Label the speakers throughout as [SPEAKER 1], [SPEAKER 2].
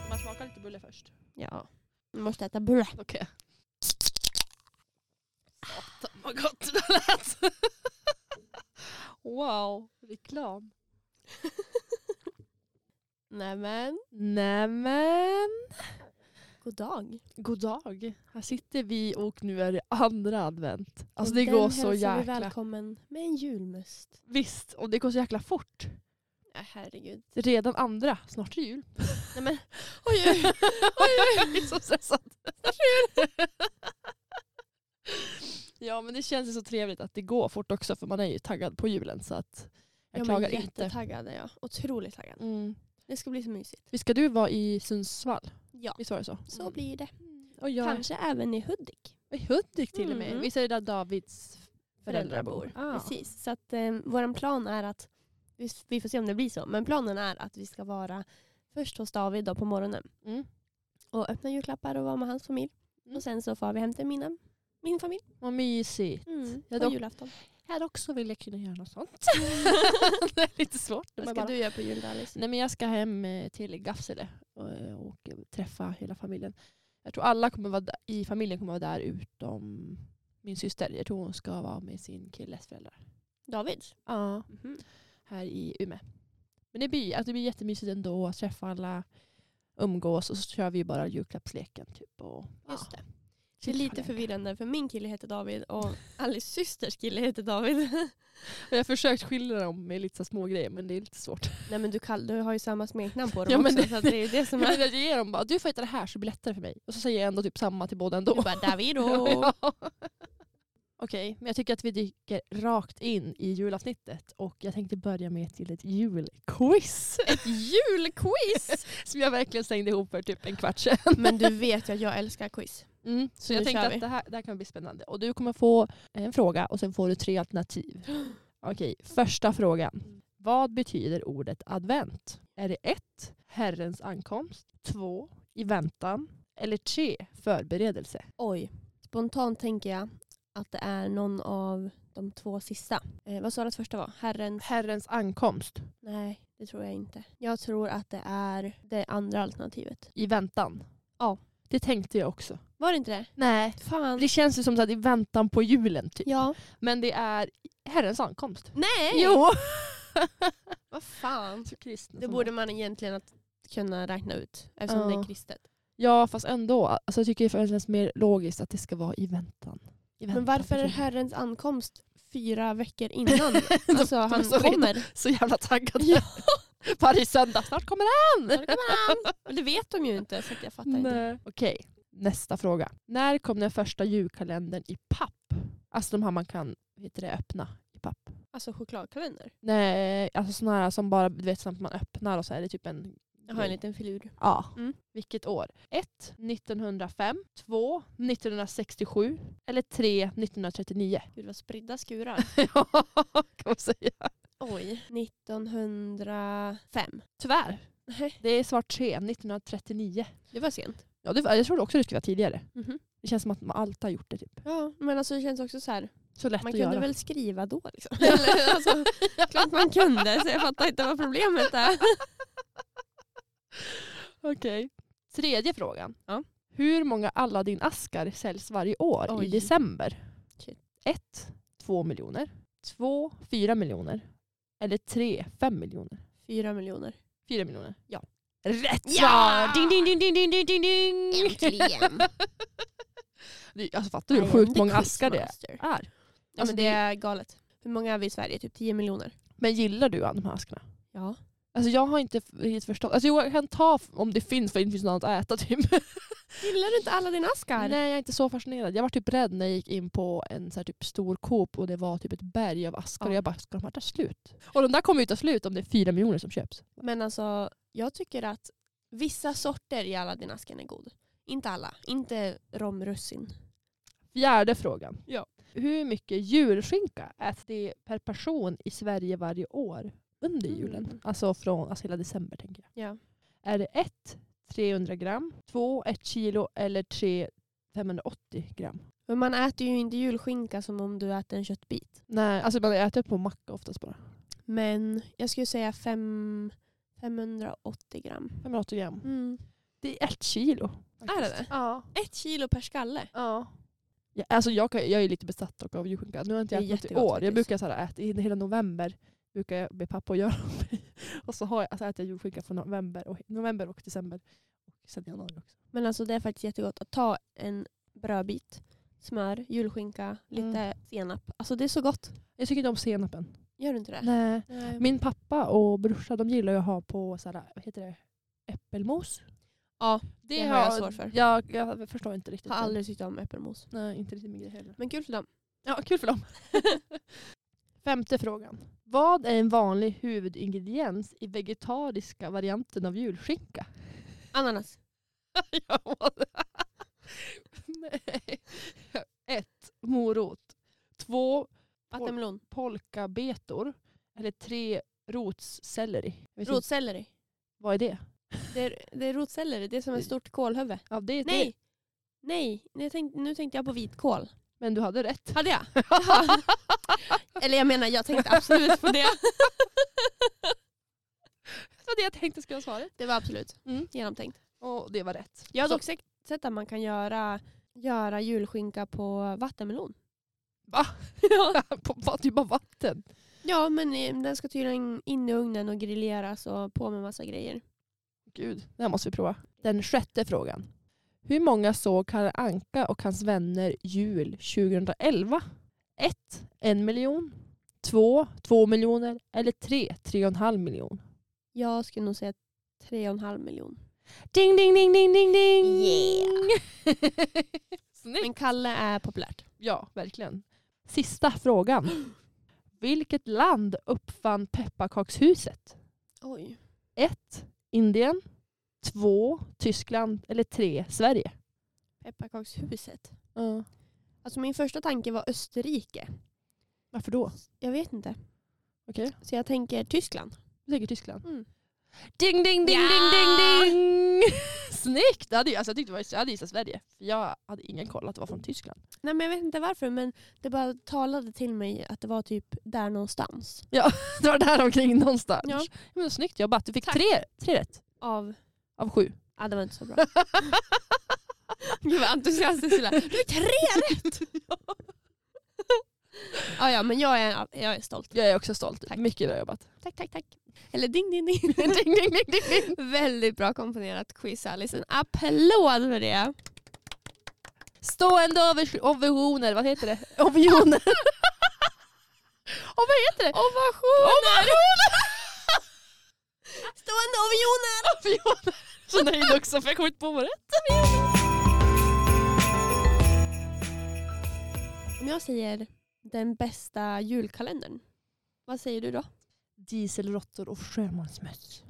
[SPEAKER 1] Ska man smaka lite bulle först?
[SPEAKER 2] Ja. Man måste äta bulle.
[SPEAKER 1] Okej. Satan vad gott det där lät. wow, reklam.
[SPEAKER 2] Nämen.
[SPEAKER 1] Nämen.
[SPEAKER 2] God dag.
[SPEAKER 1] God dag. Här sitter vi och nu är det andra advent. Alltså
[SPEAKER 2] Och
[SPEAKER 1] det
[SPEAKER 2] den
[SPEAKER 1] går så
[SPEAKER 2] hälsar vi
[SPEAKER 1] jäkla...
[SPEAKER 2] välkommen med en julmust.
[SPEAKER 1] Visst, och det går så jäkla fort.
[SPEAKER 2] Ja, herregud.
[SPEAKER 1] Redan andra, snart är det jul.
[SPEAKER 2] Nej men,
[SPEAKER 1] Oj, oj, oj. Jag är så stressad. ja, men det känns ju så trevligt att det går fort också för man är ju taggad på julen så att jag
[SPEAKER 2] jag
[SPEAKER 1] klagar
[SPEAKER 2] är
[SPEAKER 1] inte.
[SPEAKER 2] jättetaggad. är jag. Otroligt taggad.
[SPEAKER 1] Mm.
[SPEAKER 2] Det ska bli så mysigt. Mm.
[SPEAKER 1] Visst ska du vara i Sundsvall?
[SPEAKER 2] Ja,
[SPEAKER 1] Visst var det så?
[SPEAKER 2] så blir det.
[SPEAKER 1] Och jag
[SPEAKER 2] Kanske även i Hudik.
[SPEAKER 1] i Hudik till och med.
[SPEAKER 2] Mm.
[SPEAKER 1] Visst är det där Davids föräldrar bor?
[SPEAKER 2] Precis. Så att eh, vår plan är att, vi, vi får se om det blir så, men planen är att vi ska vara först hos David då på morgonen
[SPEAKER 1] Mm.
[SPEAKER 2] och öppna julklappar och vara med hans familj.
[SPEAKER 1] Mm.
[SPEAKER 2] Och sen så får vi hem till mina, min familj
[SPEAKER 1] Vad mysigt. Ja,
[SPEAKER 2] Mm. på
[SPEAKER 1] då-
[SPEAKER 2] julafton.
[SPEAKER 1] Här också vill jag kunna göra något sånt. det är lite svårt.
[SPEAKER 2] Vad
[SPEAKER 1] men
[SPEAKER 2] ska
[SPEAKER 1] bara-
[SPEAKER 2] du göra på jul då Alice?
[SPEAKER 1] Nej, men jag ska hem eh, till Gafsele och, och träffa hela familjen. Jag tror alla kommer vara där, i familjen kommer vara där utom min syster. Jag tror hon ska vara med sin killes föräldrar.
[SPEAKER 2] David?
[SPEAKER 1] Ja,
[SPEAKER 2] Mhm.
[SPEAKER 1] här i Umeå. Men det blir, alltså det blir jättemysigt ändå att träffa alla, umgås och så kör vi bara julklappsleken. Typ, och,
[SPEAKER 2] Just
[SPEAKER 1] ja,
[SPEAKER 2] det. Det är lite
[SPEAKER 1] chillhallen.
[SPEAKER 2] förvirrande för min kille heter David och Alice systers kille heter David.
[SPEAKER 1] Och Jag har försökt skilja dem med lite så här små grejer men det är lite svårt.
[SPEAKER 2] Nej men du, kall, du har ju samma smeknamn på dem
[SPEAKER 1] Ja, men
[SPEAKER 2] också
[SPEAKER 1] det-
[SPEAKER 2] så att det är ju det som
[SPEAKER 1] Men
[SPEAKER 2] är...
[SPEAKER 1] jag ger dem bara, du får heta det här så det blir lättare för mig. Och så säger jag ändå typ samma till båda ändå.
[SPEAKER 2] Du bara David
[SPEAKER 1] Ja. Okej, men jag tycker att vi dyker rakt in i julavsnittet och jag tänkte börja med ett litet julquiz
[SPEAKER 2] Ett julquiz!
[SPEAKER 1] som jag verkligen slängde ihop för typ en kvart sedan.
[SPEAKER 2] Men du vet ju att jag älskar quiz.
[SPEAKER 1] Mm, så
[SPEAKER 2] Nu
[SPEAKER 1] jag tänkte
[SPEAKER 2] kör vi.
[SPEAKER 1] att det här, det här kan bli spännande. Och du kommer få en fråga och sen får du tre alternativ. Okej, första frågan. Vad betyder ordet advent? Är det ett, Herrens ankomst, två, i väntan eller tre, förberedelse?
[SPEAKER 2] Oj. Spontant tänker jag att det är någon av de två sista. Eh, vad sa du att första var? Herrens?
[SPEAKER 1] Herrens ankomst,
[SPEAKER 2] Nej, det tror jag inte. Jag tror att det är det andra alternativet.
[SPEAKER 1] i väntan.
[SPEAKER 2] Ja.
[SPEAKER 1] Det tänkte jag också.
[SPEAKER 2] Var det inte det?
[SPEAKER 1] Nej.
[SPEAKER 2] Fan.
[SPEAKER 1] Det känns ju som att i väntan på julen typ.
[SPEAKER 2] Ja.
[SPEAKER 1] Men det är Herrens ankomst.
[SPEAKER 2] Nej!
[SPEAKER 1] Jo!
[SPEAKER 2] Vad fan.
[SPEAKER 1] Så kristna
[SPEAKER 2] Det
[SPEAKER 1] som
[SPEAKER 2] borde
[SPEAKER 1] de.
[SPEAKER 2] man egentligen att kunna räkna ut eftersom
[SPEAKER 1] Ja.
[SPEAKER 2] det är kristet.
[SPEAKER 1] Ja fast ändå. Alltså, jag tycker det känns mer logiskt att det ska vara i väntan. I väntan
[SPEAKER 2] Men
[SPEAKER 1] på
[SPEAKER 2] varför är
[SPEAKER 1] julen.
[SPEAKER 2] Herrens ankomst fyra veckor innan? alltså
[SPEAKER 1] de är
[SPEAKER 2] han
[SPEAKER 1] så
[SPEAKER 2] kommer.
[SPEAKER 1] Så jävla taggad.
[SPEAKER 2] Ja.
[SPEAKER 1] Varje söndag. Snart kommer det.
[SPEAKER 2] Snart kommer han. Och Det vet de ju inte så att jag fattar inte.
[SPEAKER 1] Okej, nästa fråga. När kom den första julkalendern i papp? Alltså de här man kan vad heter det, öppna i papp.
[SPEAKER 2] Alltså chokladkalender.
[SPEAKER 1] Nej, alltså sådana här som bara du vet, som att man öppnar och så är det typ en
[SPEAKER 2] Jag har en liten filur.
[SPEAKER 1] Ja.
[SPEAKER 2] Mm.
[SPEAKER 1] Vilket år? 1. 1905. 2. 1967. Eller 3. 1939.
[SPEAKER 2] Gud vad spridda skurar.
[SPEAKER 1] ja, kan man säga.
[SPEAKER 2] Oj. 1905.
[SPEAKER 1] Tyvärr.
[SPEAKER 2] Nej,
[SPEAKER 1] Det är svar 3. 1939.
[SPEAKER 2] det var sent.
[SPEAKER 1] Ja, det, var- jag trodde också det skulle vara tidigare.
[SPEAKER 2] Mhm.
[SPEAKER 1] Det känns som att man alltid har gjort det. Typ.
[SPEAKER 2] Ja, men alltså det känns också så här.
[SPEAKER 1] Så lätt
[SPEAKER 2] Man
[SPEAKER 1] att
[SPEAKER 2] kunde
[SPEAKER 1] göra.
[SPEAKER 2] väl skriva då liksom. Eller, alltså, klart man kunde så jag fattar inte vad problemet är.
[SPEAKER 1] Okej. Tredje frågan.
[SPEAKER 2] Ja.
[SPEAKER 1] Hur många Aladdin-askar säljs varje år i
[SPEAKER 2] Oj.
[SPEAKER 1] december?
[SPEAKER 2] Shit.
[SPEAKER 1] 1. 2 miljoner. 2. 4 miljoner. Eller 3. 5 miljoner.
[SPEAKER 2] Fyra miljoner.
[SPEAKER 1] Fyra miljoner.
[SPEAKER 2] Ja.
[SPEAKER 1] Rätt
[SPEAKER 2] Ja!
[SPEAKER 1] svar! Ding, ding, ding, ding, ding, ding, ding, ding.
[SPEAKER 2] Äntligen.
[SPEAKER 1] Det- Alltså fattar du hur sjukt många askar det
[SPEAKER 2] Ja,
[SPEAKER 1] är? Alltså,
[SPEAKER 2] men Alltså, det är galet. Hur många är vi i Sverige? Typ 10 miljoner?
[SPEAKER 1] Men gillar du de här askarna?
[SPEAKER 2] Ja.
[SPEAKER 1] Alltså jag har inte riktigt förstått. Alltså jo, jag kan ta f- om det finns för det inte finns något annat att äta typ.
[SPEAKER 2] Gillar du inte alla dina askar?
[SPEAKER 1] Nej jag är inte så fascinerad. Jag var typ rädd när jag gick in på en så här typ stor Coop och det var typ ett berg av askar.
[SPEAKER 2] Ja.
[SPEAKER 1] Och jag bara, ska de här ta slut? Och de där kommer ju ta slut om det är fyra miljoner som köps.
[SPEAKER 2] Men alltså, jag tycker att vissa sorter i alla dina asken är god. Inte alla. Inte romrussin.
[SPEAKER 1] Fjärde frågan.
[SPEAKER 2] Ja.
[SPEAKER 1] Hur mycket julskinka äts det per person i Sverige varje år under
[SPEAKER 2] Mm.
[SPEAKER 1] julen? Alltså från alltså hela december tänker jag.
[SPEAKER 2] Ja.
[SPEAKER 1] Är det ett 300 gram, två ett kilo eller tre 580 gram.
[SPEAKER 2] Men man äter ju inte julskinka som om du äter en köttbit.
[SPEAKER 1] Nej, alltså man äter på macka oftast bara.
[SPEAKER 2] Men jag skulle säga fem, 580 gram.
[SPEAKER 1] 580 gram. Det är ett kilo.
[SPEAKER 2] Är det det?
[SPEAKER 1] Ja.
[SPEAKER 2] Ett kilo per skalle.
[SPEAKER 1] ja. Ja, alltså jag, kan, jag är lite besatt dock av julskinka. Nu har jag inte
[SPEAKER 2] Det är
[SPEAKER 1] ätit något i
[SPEAKER 2] jättegott
[SPEAKER 1] år. Jag
[SPEAKER 2] faktiskt.
[SPEAKER 1] brukar så här äta, i hela november brukar jag be pappa att göra mig. Och så, har jag, alltså äter jag julskinka från november och, november och december. Och sen januari också.
[SPEAKER 2] Men alltså det är faktiskt jättegott att ta en brödbit, smör, julskinka, lite senap. Alltså det är så gott.
[SPEAKER 1] Jag tycker inte om senapen.
[SPEAKER 2] Gör du inte det?
[SPEAKER 1] Nej.
[SPEAKER 2] Nej.
[SPEAKER 1] Min pappa och brorsa de gillar ju att ha på så här, vad heter det? äppelmos.
[SPEAKER 2] Ja, det har jag svårt för.
[SPEAKER 1] Jag, jag förstår inte riktigt.
[SPEAKER 2] har
[SPEAKER 1] det.
[SPEAKER 2] aldrig tyckt om äppelmos.
[SPEAKER 1] Nej, inte riktigt min grej heller.
[SPEAKER 2] Men kul för dem.
[SPEAKER 1] Ja, kul för dem. Femte frågan. Vad är en vanlig huvudingrediens i vegetariska varianten av julskinka?
[SPEAKER 2] Ananas.
[SPEAKER 1] Jag måste- Nej. Ett, morot. Två,
[SPEAKER 2] Vattenmelon.
[SPEAKER 1] polkabetor. Eller tre, rotselleri. Jag vet inte-
[SPEAKER 2] Rotselleri.
[SPEAKER 1] Vad är det?
[SPEAKER 2] Det är, det är rotselleri, det är som ett stort kålhuvud.
[SPEAKER 1] Ja, det,
[SPEAKER 2] Nej!
[SPEAKER 1] Det.
[SPEAKER 2] Nej, jag tänkte, nu tänkte jag på vitkål.
[SPEAKER 1] Men du hade rätt.
[SPEAKER 2] Hade jag? Jaha. Eller jag menar, jag tänkte absolut på det.
[SPEAKER 1] Det var det jag tänkte skulle vara svaret.
[SPEAKER 2] Det var absolut
[SPEAKER 1] Mm.
[SPEAKER 2] genomtänkt.
[SPEAKER 1] Och det var rätt.
[SPEAKER 2] Jag har
[SPEAKER 1] Så-
[SPEAKER 2] dock sett sett att man kan göra, göra julskinka på vattenmelon.
[SPEAKER 1] Va?
[SPEAKER 2] ja.
[SPEAKER 1] på, på, det är bara vatten.
[SPEAKER 2] ja, men eh, den ska tydligen in i ugnen och grilleras och på med massa grejer.
[SPEAKER 1] Gud, det här måste vi prova. Den sjätte frågan. Hur många såg Kalle Anka och hans vänner jul 2011? 1. En miljon. 2. Två miljoner. Eller 3. Tre och en halv miljon.
[SPEAKER 2] Jag skulle nog säga tre och en halv miljon.
[SPEAKER 1] Ding, ding, ding, ding, ding, ding!
[SPEAKER 2] Yeah.
[SPEAKER 1] Snyggt!
[SPEAKER 2] Men Kalle är populärt.
[SPEAKER 1] Ja, verkligen. Sista frågan. Vilket land uppfann pepparkakshuset?
[SPEAKER 2] Oj.
[SPEAKER 1] 1. Indien. 2. Tyskland. Eller 3. Sverige.
[SPEAKER 2] Pepparkakshuset. Alltså min första tanke var Österrike.
[SPEAKER 1] Varför då?
[SPEAKER 2] Jag vet inte.
[SPEAKER 1] Okej.
[SPEAKER 2] Så jag tänker Tyskland.
[SPEAKER 1] Jag tänker Tyskland.
[SPEAKER 2] Mm.
[SPEAKER 1] Ding, ding, ding,
[SPEAKER 2] Ja!
[SPEAKER 1] ding, ding, ding! Snyggt! Jag hade, alltså, jag, tyckte det var, jag hade gissat Sverige. För jag hade ingen koll att det var från Tyskland.
[SPEAKER 2] Nej men jag vet inte varför men det bara talade till mig att det var typ där någonstans.
[SPEAKER 1] Det var där omkring någonstans.
[SPEAKER 2] Ja.
[SPEAKER 1] Men snyggt jobbat. Du fick
[SPEAKER 2] Tack.
[SPEAKER 1] tre, tre rätt
[SPEAKER 2] Av...
[SPEAKER 1] av sju.
[SPEAKER 2] Ja det var inte så bra. Gud vad entusiastisk du lät. Du fick tre rätt! ja ja men jag är, jag är stolt.
[SPEAKER 1] Jag är också stolt.
[SPEAKER 2] Tack.
[SPEAKER 1] Mycket bra jobbat.
[SPEAKER 2] Tack tack tack. Eller ding ding ding.
[SPEAKER 1] ding, ding, ding, ding, ding.
[SPEAKER 2] Väldigt bra komponerat quiz Alice. En applåd för det.
[SPEAKER 1] Stående overs- ovationer. Vad heter det? Ovioner. Och vad heter det?
[SPEAKER 2] Ovationer! Stående ovioner!
[SPEAKER 1] Ovioner. Så nöjd också för jag kom inte på vad det
[SPEAKER 2] Om jag säger den bästa julkalendern, vad säger du då?
[SPEAKER 1] Dieselråttor och sjömansmöss.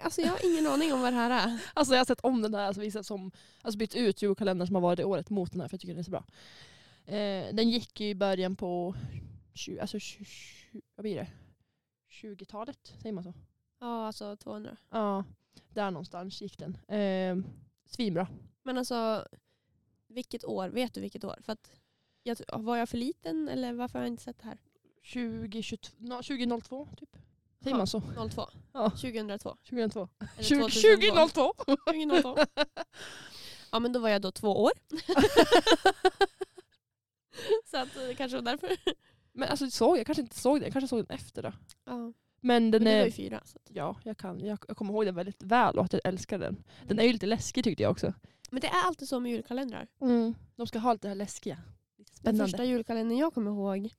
[SPEAKER 2] Alltså jag har ingen aning om vad det här är.
[SPEAKER 1] Alltså jag har sett om den där, alltså, visat som, alltså bytt ut julkalendern som har varit i året mot den här för jag tycker den är så bra. Eh, den gick ju i början på 20, alltså 20, vad blir det? 20-talet, säger man så?
[SPEAKER 2] Ja, alltså 200.
[SPEAKER 1] Ja, där någonstans gick den. Eh, svinbra.
[SPEAKER 2] Men alltså, vilket år? Vet du vilket år? För att jag, tr- var jag för liten eller varför har jag inte sett det här?
[SPEAKER 1] 2022, no, 2002 typ. Säger
[SPEAKER 2] Ja.
[SPEAKER 1] man så?
[SPEAKER 2] 02.
[SPEAKER 1] Ja.
[SPEAKER 2] 2002.
[SPEAKER 1] 2002.
[SPEAKER 2] Eller
[SPEAKER 1] 20,
[SPEAKER 2] 2002.
[SPEAKER 1] 2002!
[SPEAKER 2] 2002. Ja men då var jag då två år. Så att eh, det kanske var därför.
[SPEAKER 1] Men alltså såg, jag kanske inte såg den, jag kanske såg den efter då.
[SPEAKER 2] Ja.
[SPEAKER 1] Men den
[SPEAKER 2] Men du var ju
[SPEAKER 1] är,
[SPEAKER 2] fyra. Så att.
[SPEAKER 1] ja jag, kan, jag, jag kommer ihåg den väldigt väl och att jag älskar den. Den
[SPEAKER 2] Mm.
[SPEAKER 1] är ju lite läskig tyckte jag också.
[SPEAKER 2] Men det är alltid så med julkalendrar.
[SPEAKER 1] De ska ha lite det här läskiga. Lite
[SPEAKER 2] Den första julkalendern jag kommer ihåg.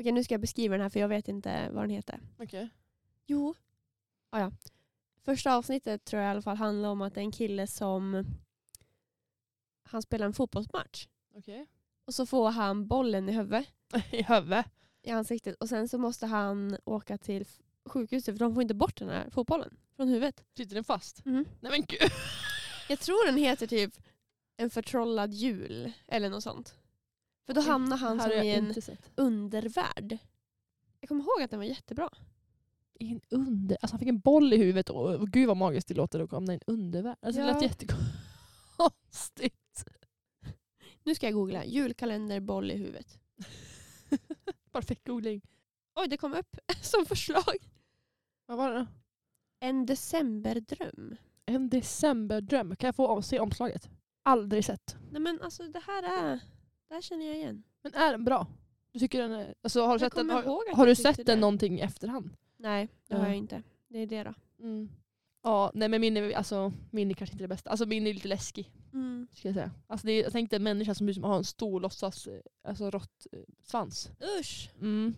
[SPEAKER 2] Okej nu ska jag beskriva den här för jag vet inte vad den heter. Jo. Ah, ja. Första avsnittet tror jag i alla fall handlar om att det är en kille som han spelar en fotbollsmatch. Och så får han bollen i huvudet,
[SPEAKER 1] I huvudet.
[SPEAKER 2] i ansiktet. Och sen så måste han åka till f- sjukhuset för de får inte bort den här fotbollen från huvudet.
[SPEAKER 1] Sitter den fast?
[SPEAKER 2] Mm.
[SPEAKER 1] Nej men gud.
[SPEAKER 2] Jag tror den heter typ En förtrollad jul eller något sånt. För då
[SPEAKER 1] Oj,
[SPEAKER 2] hamnar han
[SPEAKER 1] Det
[SPEAKER 2] som
[SPEAKER 1] här har
[SPEAKER 2] i
[SPEAKER 1] jag
[SPEAKER 2] en
[SPEAKER 1] inte sett.
[SPEAKER 2] undervärld. Jag kommer ihåg att den var jättebra.
[SPEAKER 1] I en under... Alltså han fick en boll i huvudet och, och gud vad magiskt det låter att komma i en undervärld. Alltså det lät
[SPEAKER 2] Ja.
[SPEAKER 1] jättekonstigt.
[SPEAKER 2] Nu ska jag googla. Julkalender boll i huvudet.
[SPEAKER 1] Perfekt googling.
[SPEAKER 2] Oj, det kom upp som förslag.
[SPEAKER 1] Vad var det då?
[SPEAKER 2] En decemberdröm.
[SPEAKER 1] En decemberdröm. Kan jag få av- se omslaget? Aldrig sett.
[SPEAKER 2] Nej men alltså det här är... Det här känner jag igen.
[SPEAKER 1] Men är den bra? Du tycker den är... Alltså, har du
[SPEAKER 2] Jag
[SPEAKER 1] sett den,
[SPEAKER 2] kommer
[SPEAKER 1] har,
[SPEAKER 2] ihåg att
[SPEAKER 1] har
[SPEAKER 2] jag
[SPEAKER 1] du
[SPEAKER 2] tyckte
[SPEAKER 1] sett den
[SPEAKER 2] det.
[SPEAKER 1] någonting i efterhand?
[SPEAKER 2] Nej, det
[SPEAKER 1] Ja.
[SPEAKER 2] har jag inte. Det är det då.
[SPEAKER 1] Mm. Ja, nej men min är, alltså, min är kanske inte det bästa. Alltså min är lite läskig.
[SPEAKER 2] Mm.
[SPEAKER 1] Ska jag säga. Alltså, det är, jag tänkte en människa som liksom har en stor låtsas, eh, alltså rått eh, svans.
[SPEAKER 2] Usch!
[SPEAKER 1] Mm.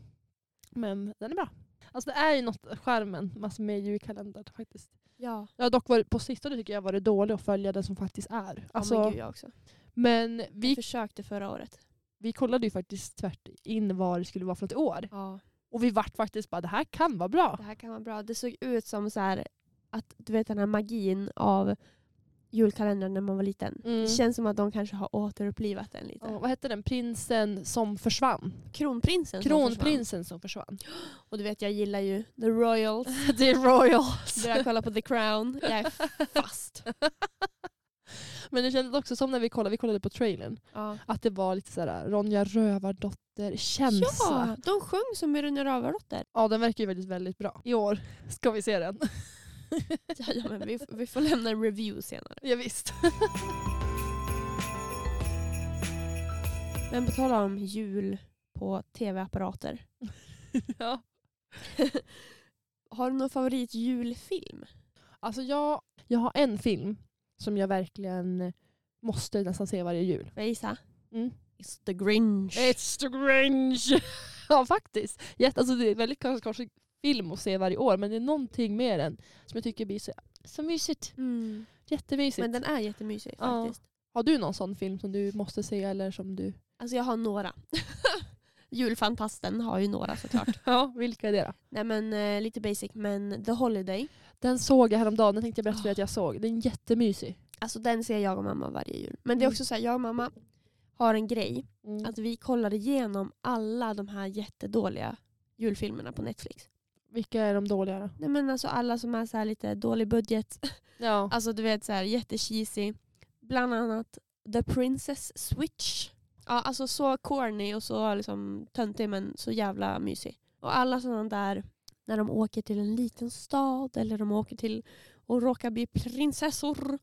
[SPEAKER 1] Men den är bra. Alltså det är ju något skärmen massor med julkalendern faktiskt.
[SPEAKER 2] Ja,
[SPEAKER 1] Jag har dock varit, på sistone tycker jag varit dålig att följa den som faktiskt är. Alltså,
[SPEAKER 2] ja men gud jag också.
[SPEAKER 1] men
[SPEAKER 2] Vi
[SPEAKER 1] vi,
[SPEAKER 2] försökte förra året.
[SPEAKER 1] vi kollade ju faktiskt tvärt in vad det skulle vara för något år.
[SPEAKER 2] Ja,
[SPEAKER 1] Och vi vart faktiskt bara, det här kan vara bra.
[SPEAKER 2] det här kan vara bra. Det såg ut som så här att du vet den här magin av julkalendern när man var liten.
[SPEAKER 1] Mm.
[SPEAKER 2] Det känns som att de kanske har återupplivat den lite.
[SPEAKER 1] Ja, vad hette den? Prinsen som försvann.
[SPEAKER 2] Kronprinsen som försvann.
[SPEAKER 1] Kronprinsen som försvann.
[SPEAKER 2] Och du vet jag gillar ju The Royals.
[SPEAKER 1] The Royals.
[SPEAKER 2] Börjar kolla på The Crown. Jag är fast.
[SPEAKER 1] Men det kändes också som när vi kollade, vi kollade på trailern,
[SPEAKER 2] Ja.
[SPEAKER 1] att det var lite sådär Ronja Rövardotter-känsla.
[SPEAKER 2] Ja, de sjöng som i Rune Rövardotter.
[SPEAKER 1] Ja, den verkar ju väldigt, väldigt bra. I år ska vi se den.
[SPEAKER 2] Ja, ja, men vi, vi får lämna en review senare.
[SPEAKER 1] Ja, visst.
[SPEAKER 2] Men på tal om jul på tv-apparater.
[SPEAKER 1] ja.
[SPEAKER 2] Har du någon favoritjulfilm?
[SPEAKER 1] Alltså jag, jag har en film som jag verkligen måste nästan se varje jul.
[SPEAKER 2] Får jag gissa?
[SPEAKER 1] Mm.
[SPEAKER 2] It's the Grinch.
[SPEAKER 1] It's the Grinch! ja, faktiskt. Jätte, alltså det är en väldigt kors- korsig film att se varje år, men det är någonting med den som jag tycker blir så, så mysigt.
[SPEAKER 2] Mm.
[SPEAKER 1] Jättemysigt.
[SPEAKER 2] Men den är jättemysig
[SPEAKER 1] Typ. Ja.
[SPEAKER 2] faktiskt.
[SPEAKER 1] Har du någon sån film som du måste se eller som du...
[SPEAKER 2] Alltså jag har några. Julfantasten har ju några såklart.
[SPEAKER 1] Ja, vilka är det då?
[SPEAKER 2] Nej men eh, lite basic men The Holiday.
[SPEAKER 1] Den såg jag häromdagen, den tänkte jag berätta för dig att jag såg. Den är jättemysig.
[SPEAKER 2] Alltså den ser jag och mamma varje jul. Men det är också så här, jag och mamma har en grej.
[SPEAKER 1] Mm.
[SPEAKER 2] Att vi kollar igenom alla de här jättedåliga julfilmerna på Netflix.
[SPEAKER 1] Vilka är de dåliga då?
[SPEAKER 2] Nej men alltså alla som är så här lite dålig budget.
[SPEAKER 1] Ja.
[SPEAKER 2] Alltså du vet så här jättecheesy. Bland annat The Princess Switch. Ja, alltså så corny och så liksom töntig men så jävla mysig. Och alla sådana där när de åker till en liten stad eller de åker till och råkar bli prinsessor.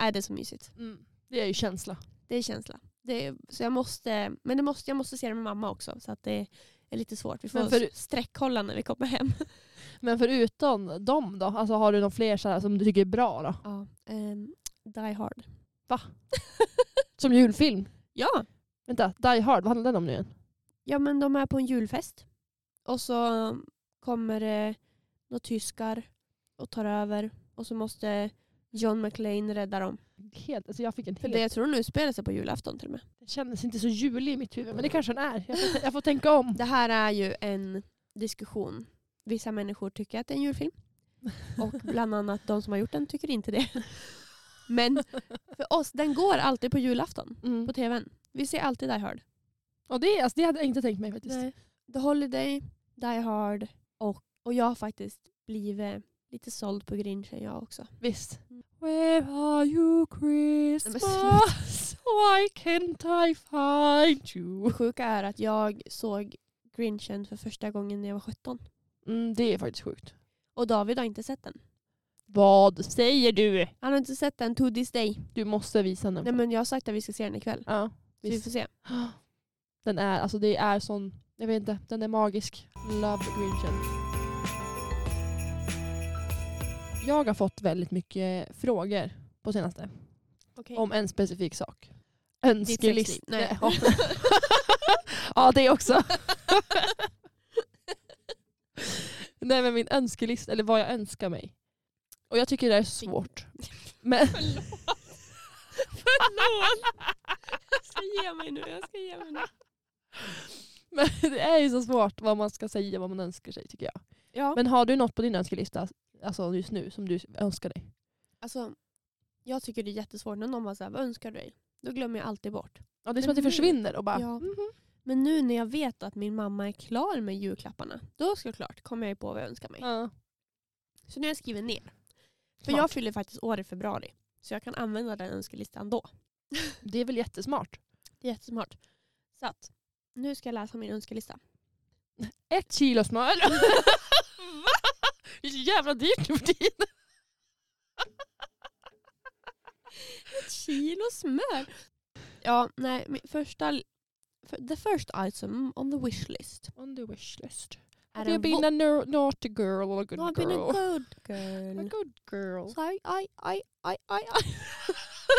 [SPEAKER 2] Nej, det är så mysigt.
[SPEAKER 1] Mm. Det är ju känsla.
[SPEAKER 2] Det är känsla. Det är, så jag måste, men det måste, jag måste se det med mamma också så att det är lite svårt. Vi får
[SPEAKER 1] Men för-
[SPEAKER 2] sträckkolla när vi kommer hem.
[SPEAKER 1] Men förutom dem då? Alltså har du någon fler så här som du tycker är bra då?
[SPEAKER 2] Ja, ehm, Die Hard.
[SPEAKER 1] Som julfilm?
[SPEAKER 2] Ja,
[SPEAKER 1] Vänta, Die Hard, vad handlar den om nu igen?
[SPEAKER 2] Ja men de är på en julfest. Och så kommer det några tyskar och tar över. Och så måste John McLean rädda dem.
[SPEAKER 1] Helt, alltså jag fick en
[SPEAKER 2] För
[SPEAKER 1] helt...
[SPEAKER 2] det
[SPEAKER 1] Det...
[SPEAKER 2] jag tror nu utspelar sig på julafton till och med.
[SPEAKER 1] kändes inte så julig i mitt huvud, men det kanske den är. Jag får, jag får tänka om.
[SPEAKER 2] Det här är ju en diskussion. Vissa människor tycker att det är en julfilm. Och bland annat de som har gjort den tycker inte det. Men för oss, den går alltid på julafton
[SPEAKER 1] Mm.
[SPEAKER 2] på tvn. Vi ser alltid Die Hard.
[SPEAKER 1] Och det, alltså, det hade jag inte tänkt mig faktiskt.
[SPEAKER 2] The Holiday, Die Hard och, och jag har faktiskt blivit lite såld på Grinchen jag också.
[SPEAKER 1] Visst.
[SPEAKER 2] Mm.
[SPEAKER 1] Where are you Christmas? Why can't I find you?
[SPEAKER 2] Det sjuka är att jag såg Grinchen för första gången när jag var 17.
[SPEAKER 1] Mm, det är faktiskt sjukt.
[SPEAKER 2] Och David har inte sett den.
[SPEAKER 1] Vad säger du?
[SPEAKER 2] Han har inte sett den to this day.
[SPEAKER 1] Du måste visa den.
[SPEAKER 2] Nej men jag har sagt att vi ska se den ikväll.
[SPEAKER 1] Ja,
[SPEAKER 2] Så vi
[SPEAKER 1] visst.
[SPEAKER 2] får se.
[SPEAKER 1] Den är, alltså det är sån, jag vet inte, den är magisk. Love Grinchen. Jag har fått väldigt mycket frågor på senaste.
[SPEAKER 2] Okej.
[SPEAKER 1] Om en specifik sak.
[SPEAKER 2] sexliv.
[SPEAKER 1] Önskelist.
[SPEAKER 2] Nej.
[SPEAKER 1] Ja. ja, det också. Nej men min önskelista, eller vad jag önskar mig. Och jag tycker det är svårt. Men,
[SPEAKER 2] Jag ska ge mig nu, jag ska ge mig nu.
[SPEAKER 1] men det är ju så svårt vad man ska säga, vad man önskar sig tycker jag.
[SPEAKER 2] Ja,
[SPEAKER 1] Men har du något på din önskelista alltså just nu som du önskar dig?
[SPEAKER 2] alltså jag tycker det är jättesvårt när någon bara säger vad önskar du dig? Då glömmer jag alltid bort.
[SPEAKER 1] Ja, det är som att det
[SPEAKER 2] Men nu-
[SPEAKER 1] försvinner och bara...
[SPEAKER 2] Ja.
[SPEAKER 1] mhm.
[SPEAKER 2] Men nu när jag vet att min mamma är klar med julklapparna, då såklart kommer jag ju på vad jag önskar mig.
[SPEAKER 1] Ja.
[SPEAKER 2] Så nu har jag skrivit ner. För
[SPEAKER 1] Smart.
[SPEAKER 2] jag fyller faktiskt år i februari. Så jag kan använda den önskelistan då.
[SPEAKER 1] Det är väl jättesmart.
[SPEAKER 2] Det Jättesmart. Så att, nu ska jag läsa min önskelista.
[SPEAKER 1] Ett kilo smör. Va? Det är så jävla dyrt nu för tiden.
[SPEAKER 2] Ett kilo smör. Ja, nej, min första... för- The first item on the wish list.
[SPEAKER 1] On the wish list.
[SPEAKER 2] Är
[SPEAKER 1] Have you
[SPEAKER 2] en
[SPEAKER 1] been
[SPEAKER 2] vo-
[SPEAKER 1] a no- naughty girl or a good
[SPEAKER 2] No, I've been a
[SPEAKER 1] girl?
[SPEAKER 2] good girl.
[SPEAKER 1] A good girl.
[SPEAKER 2] So I, I, I, I, I, I.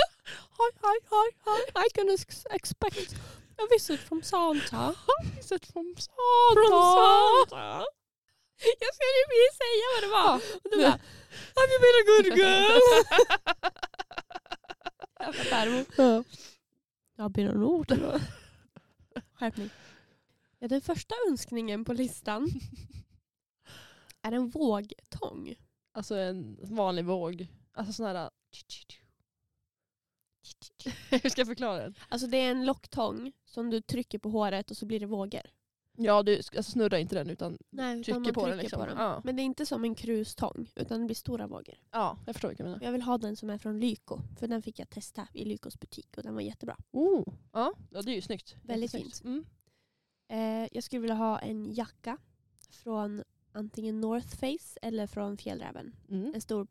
[SPEAKER 2] I, I, I, I, I can ex- expect a visit from Santa.
[SPEAKER 1] Is it from Santa?
[SPEAKER 2] Santa. Jag skulle precis säga vad det var. Och du bara,
[SPEAKER 1] Have you been a good girl?
[SPEAKER 2] jävla farmor. Jag ber om ord. Skärpning. Ja, den första önskningen på listan är en vågtång.
[SPEAKER 1] alltså en vanlig våg. Alltså sån här... Hur ska jag förklara den?
[SPEAKER 2] Alltså det är en locktång som du trycker på håret och så blir det vågor.
[SPEAKER 1] Ja, du alltså snurra inte den utan...
[SPEAKER 2] Nej, utan
[SPEAKER 1] Trycker
[SPEAKER 2] man
[SPEAKER 1] på den
[SPEAKER 2] trycker
[SPEAKER 1] liksom.
[SPEAKER 2] på den.
[SPEAKER 1] Ja.
[SPEAKER 2] Men det är inte som en krustång utan det blir stora vågor.
[SPEAKER 1] Ja, jag förstår vad du menar.
[SPEAKER 2] Jag vill ha den som är från Lyko för den fick jag testa i Lykos butik och den var jättebra.
[SPEAKER 1] Oh. Ja, ja, det är ju snyggt.
[SPEAKER 2] Väldigt
[SPEAKER 1] Jättesnyggt.
[SPEAKER 2] fint.
[SPEAKER 1] Mm.
[SPEAKER 2] Eh, jag skulle vilja ha en jacka från antingen North Face eller från Fjällräven.
[SPEAKER 1] Mm.
[SPEAKER 2] En stor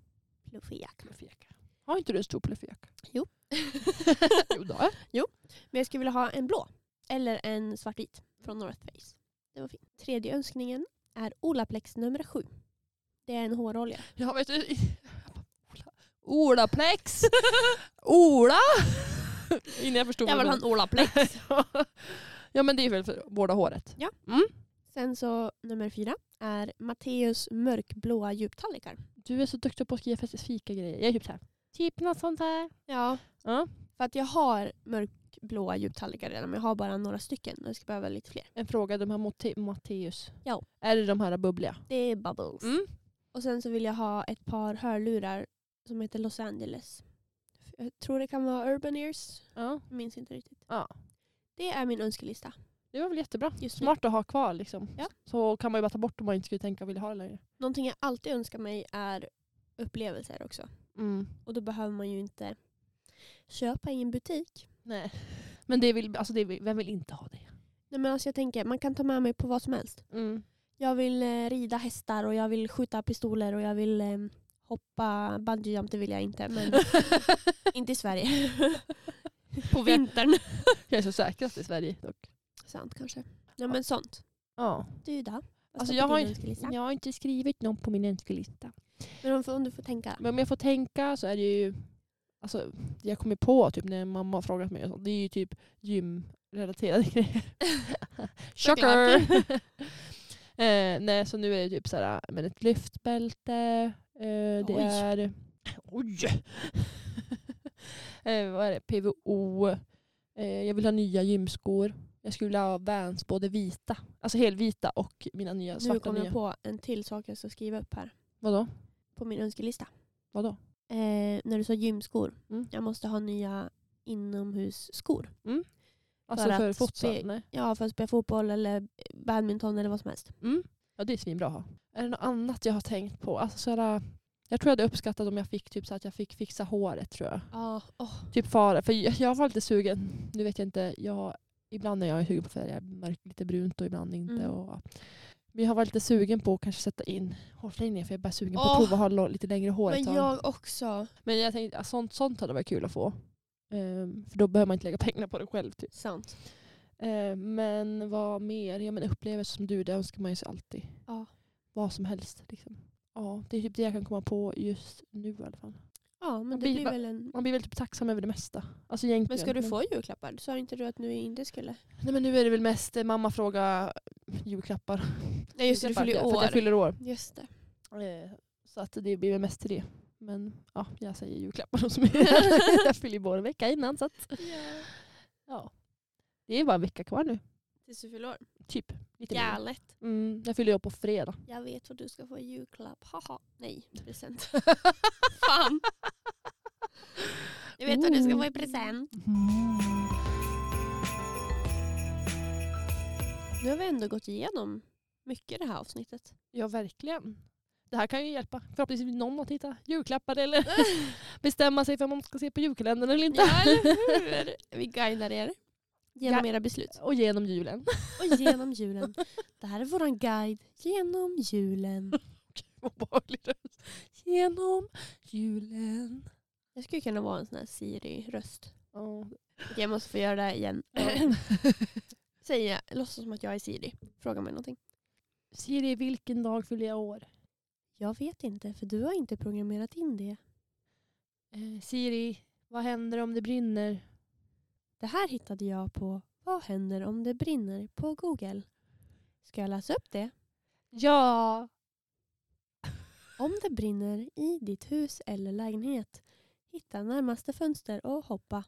[SPEAKER 2] fluffig jacka.
[SPEAKER 1] Plufjäka. Har inte du en stor plufjäka?
[SPEAKER 2] Jo.
[SPEAKER 1] jo, det har jag.
[SPEAKER 2] Men jag skulle vilja ha en blå. Eller en svartvit från North Face. Det var fint. Tredje önskningen är Olaplex nummer sju. Det är en hårolja.
[SPEAKER 1] Ja, vet du. Ola. Olaplex! Ola! Innan jag förstod.
[SPEAKER 2] Jag vill ha en Olaplex.
[SPEAKER 1] ja, men det är väl för att vårda håret. Mm.
[SPEAKER 2] Sen så nummer fyra är Matteus mörkblåa djuptallrikar.
[SPEAKER 1] Du är så duktig på att skriva specifika grejer. Jag är typ så här. Typ något sånt här.
[SPEAKER 2] Ja.
[SPEAKER 1] Ja.
[SPEAKER 2] För att jag har mörkblåa djuptallrikar redan men jag har bara några stycken. Jag ska behöva lite fler.
[SPEAKER 1] En fråga, de här Mote- Matteus.
[SPEAKER 2] Ja.
[SPEAKER 1] Är det de här bubbliga?
[SPEAKER 2] Det är bubbles.
[SPEAKER 1] Mm.
[SPEAKER 2] Och sen så vill jag ha ett par hörlurar som heter Los Angeles. Jag tror det kan vara Urban Ears.
[SPEAKER 1] Ja.
[SPEAKER 2] Jag minns inte riktigt.
[SPEAKER 1] Ja.
[SPEAKER 2] Det är min önskelista.
[SPEAKER 1] Det var väl jättebra.
[SPEAKER 2] Just nu.
[SPEAKER 1] Smart att ha kvar liksom.
[SPEAKER 2] Typ. Ja.
[SPEAKER 1] Så kan man ju bara ta bort om man inte skulle tänka och vilja ha det längre.
[SPEAKER 2] Någonting jag alltid önskar mig är upplevelser också.
[SPEAKER 1] Mm.
[SPEAKER 2] Och då behöver man ju inte köpa i en butik.
[SPEAKER 1] Nej. Men det vill, alltså det vill, vem vill inte ha det?
[SPEAKER 2] Nej, men alltså jag tänker, man kan ta med mig på vad som helst.
[SPEAKER 1] Mm.
[SPEAKER 2] Jag vill eh, rida hästar och jag vill skjuta pistoler och jag vill eh, hoppa bungee jump, det vill jag inte. Men inte i Sverige. på vintern.
[SPEAKER 1] Jag är så säkrast i Sverige dock.
[SPEAKER 2] Sant kanske. Ja men sånt.
[SPEAKER 1] Ja.
[SPEAKER 2] Du då? Vad
[SPEAKER 1] Alltså,
[SPEAKER 2] står
[SPEAKER 1] jag
[SPEAKER 2] på
[SPEAKER 1] har
[SPEAKER 2] din
[SPEAKER 1] ju-
[SPEAKER 2] önskelista?
[SPEAKER 1] Jag har inte skrivit någon på min önskelista.
[SPEAKER 2] Men om, om du får tänka.
[SPEAKER 1] Men om jag får tänka så är det ju... Alltså, jag kommer på typ när mamma har frågat mig. och sånt, Det är ju typ gymrelaterade grejer. Shocker! eh, nej, så nu är det typ så här, men ett lyftbälte. Eh, det
[SPEAKER 2] Oj.
[SPEAKER 1] är... Oj! eh, vad är det? PVO. Eh, jag vill ha nya gymskor. Jag skulle vilja ha Vans, både vita, alltså helvita och mina nya
[SPEAKER 2] Nu
[SPEAKER 1] svarta
[SPEAKER 2] kommer
[SPEAKER 1] nya.
[SPEAKER 2] jag på en till sak jag ska skriva upp här.
[SPEAKER 1] Vadå?
[SPEAKER 2] På min önskelista.
[SPEAKER 1] Vadå?
[SPEAKER 2] Eh, när du sa gymskor.
[SPEAKER 1] Mm.
[SPEAKER 2] Jag måste ha nya inomhusskor.
[SPEAKER 1] Alltså
[SPEAKER 2] att
[SPEAKER 1] för, fotsal?
[SPEAKER 2] spe-
[SPEAKER 1] Nej.
[SPEAKER 2] Ja, för att spela fotboll eller badminton eller vad som helst.
[SPEAKER 1] Mm. Ja, det är svinbra att ha. Är det något annat jag har tänkt på? Alltså, så här, jag tror jag hade uppskattat om jag fick typ så att jag fick fixa håret tror jag.
[SPEAKER 2] Ja, åh.
[SPEAKER 1] Typ fara, för jag jag var lite sugen. Nu vet jag inte, jag, ibland när jag är sugen på färg, jag märker lite brunt och ibland inte.
[SPEAKER 2] Mm.
[SPEAKER 1] Och, men jag har varit lite sugen på att kanske sätta in hårflängningar för jag är bara sugen på att
[SPEAKER 2] Åh.
[SPEAKER 1] prova att ha lo- lite längre hår ett
[SPEAKER 2] men
[SPEAKER 1] tag.
[SPEAKER 2] jag också.
[SPEAKER 1] men jag tänkte att sånt, sånt hade varit kul att få. Ehm, för då behöver man inte lägga pengar på det själv. Typ.
[SPEAKER 2] Sant.
[SPEAKER 1] Ehm, men vad mer? Ja, men upplevelser som du, det önskar man ju sig alltid.
[SPEAKER 2] Ja.
[SPEAKER 1] Vad som helst. Liksom. Ja, det är typ det jag kan komma på just nu i alla fall.
[SPEAKER 2] Ja, men
[SPEAKER 1] Man
[SPEAKER 2] det
[SPEAKER 1] blir
[SPEAKER 2] blir,
[SPEAKER 1] ba-
[SPEAKER 2] väl en...
[SPEAKER 1] Man blir väl typ tacksam över det mesta. Alltså egentligen.
[SPEAKER 2] Men ska du få julklappar? Sa inte du att nu inte skulle?
[SPEAKER 1] Nej men nu är det väl mest eh, mamma fråga julklappar.
[SPEAKER 2] Nej just det, du
[SPEAKER 1] För att
[SPEAKER 2] fyller ju
[SPEAKER 1] jag- För att
[SPEAKER 2] år.
[SPEAKER 1] jag fyller år.
[SPEAKER 2] Just det.
[SPEAKER 1] Eh, Så att det blir väl mest till det. Men ja, jag säger julklappar och så mycket. jag fyller ju bara en vecka innan så att ja. Det är bara en vecka kvar nu.
[SPEAKER 2] Tills du fyller år.
[SPEAKER 1] Typ. Lite mer.
[SPEAKER 2] Galet.
[SPEAKER 1] mm, jag fyller ju år på fredag.
[SPEAKER 2] Jag vet vad du ska få i julklapp. Haha. Nej, present. Fan. Jag vet vad du ska få i present. Nu har vi ändå gått igenom mycket i det här avsnittet.
[SPEAKER 1] Ja verkligen. Det här kan ju hjälpa. Förhoppningsvis någon att hitta julklappar eller bestämma sig för om man ska se på julkalendern eller inte.
[SPEAKER 2] eller hur? Vi guidar er. Genom
[SPEAKER 1] Ja.
[SPEAKER 2] era beslut.
[SPEAKER 1] Och genom julen.
[SPEAKER 2] Och genom julen. Det här är vår guide genom julen.
[SPEAKER 1] genom julen.
[SPEAKER 2] Jag skulle kunna vara en sån här Siri-röst.
[SPEAKER 1] Ja.
[SPEAKER 2] Okej, jag måste få göra det här igen. Säger jag, låtsas som att jag är Siri. Fråga mig någonting.
[SPEAKER 1] Siri, vilken dag fyller jag år?
[SPEAKER 2] Jag vet inte, för du har inte programmerat in det.
[SPEAKER 1] Eh, Siri, vad händer om det brinner?
[SPEAKER 2] Det här hittade jag på Vad händer om det brinner på Google. Ska jag läsa upp det?
[SPEAKER 1] Ja!
[SPEAKER 2] Om det brinner i ditt hus eller lägenhet, hitta närmaste fönster och hoppa.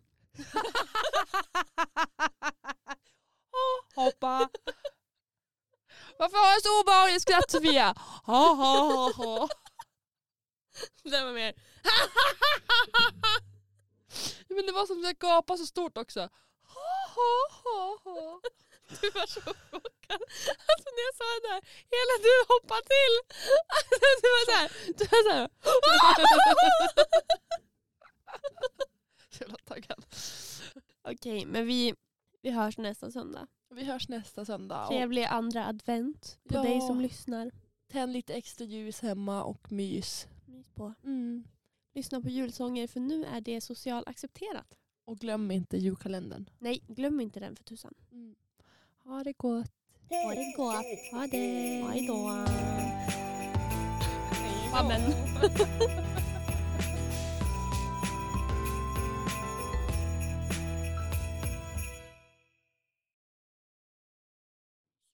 [SPEAKER 1] Hoppa! Varför har jag så obehagligt skratt Sofia? Ha, ha, ha, ha.
[SPEAKER 2] Det var mer.
[SPEAKER 1] Men det var som att jag gapade så stort också. Ha, ha, ha, ha.
[SPEAKER 2] Du var så chockad. Alltså när jag sa det där, hela du hoppade till. Alltså, du var såhär.
[SPEAKER 1] Du var såhär. Så jävla taggad.
[SPEAKER 2] Okej, men vi, vi hörs nästa söndag.
[SPEAKER 1] Vi hörs nästa söndag. Och
[SPEAKER 2] Trevlig andra advent på
[SPEAKER 1] Ja.
[SPEAKER 2] dig som lyssnar.
[SPEAKER 1] tänd lite extra ljus hemma och mys.
[SPEAKER 2] Mys på.
[SPEAKER 1] Mm.
[SPEAKER 2] Lyssna på julsånger för nu är det socialt accepterat.
[SPEAKER 1] Och glöm inte julkalendern.
[SPEAKER 2] Nej, glöm inte den för tusan.
[SPEAKER 1] Ha det gott.
[SPEAKER 2] Ha det gott. Ha det. Hej då.
[SPEAKER 1] Amen.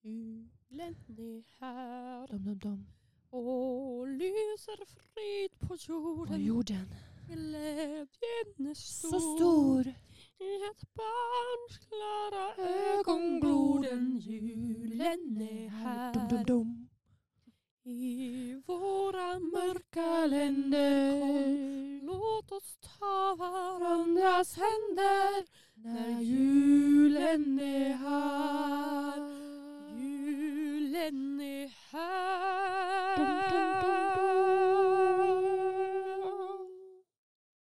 [SPEAKER 2] Julen är här
[SPEAKER 1] Dum, dum, dum.
[SPEAKER 2] och lyser frid på
[SPEAKER 1] Och
[SPEAKER 2] jorden.
[SPEAKER 1] jorden.
[SPEAKER 2] Glädjen är stor.
[SPEAKER 1] Så stor.
[SPEAKER 2] I ett barns klara
[SPEAKER 1] Ögonbloden.
[SPEAKER 2] ögonbloden. Julen är
[SPEAKER 1] Dum, dum,
[SPEAKER 2] här.
[SPEAKER 1] dum.
[SPEAKER 2] I våra mörka
[SPEAKER 1] Mörka
[SPEAKER 2] länder.
[SPEAKER 1] länder.
[SPEAKER 2] Låt oss ta
[SPEAKER 1] Varandras
[SPEAKER 2] varandras
[SPEAKER 1] händer.
[SPEAKER 2] händer.
[SPEAKER 1] När julen är här.
[SPEAKER 2] Julen är
[SPEAKER 1] Dum, dum,
[SPEAKER 2] här.
[SPEAKER 1] dum.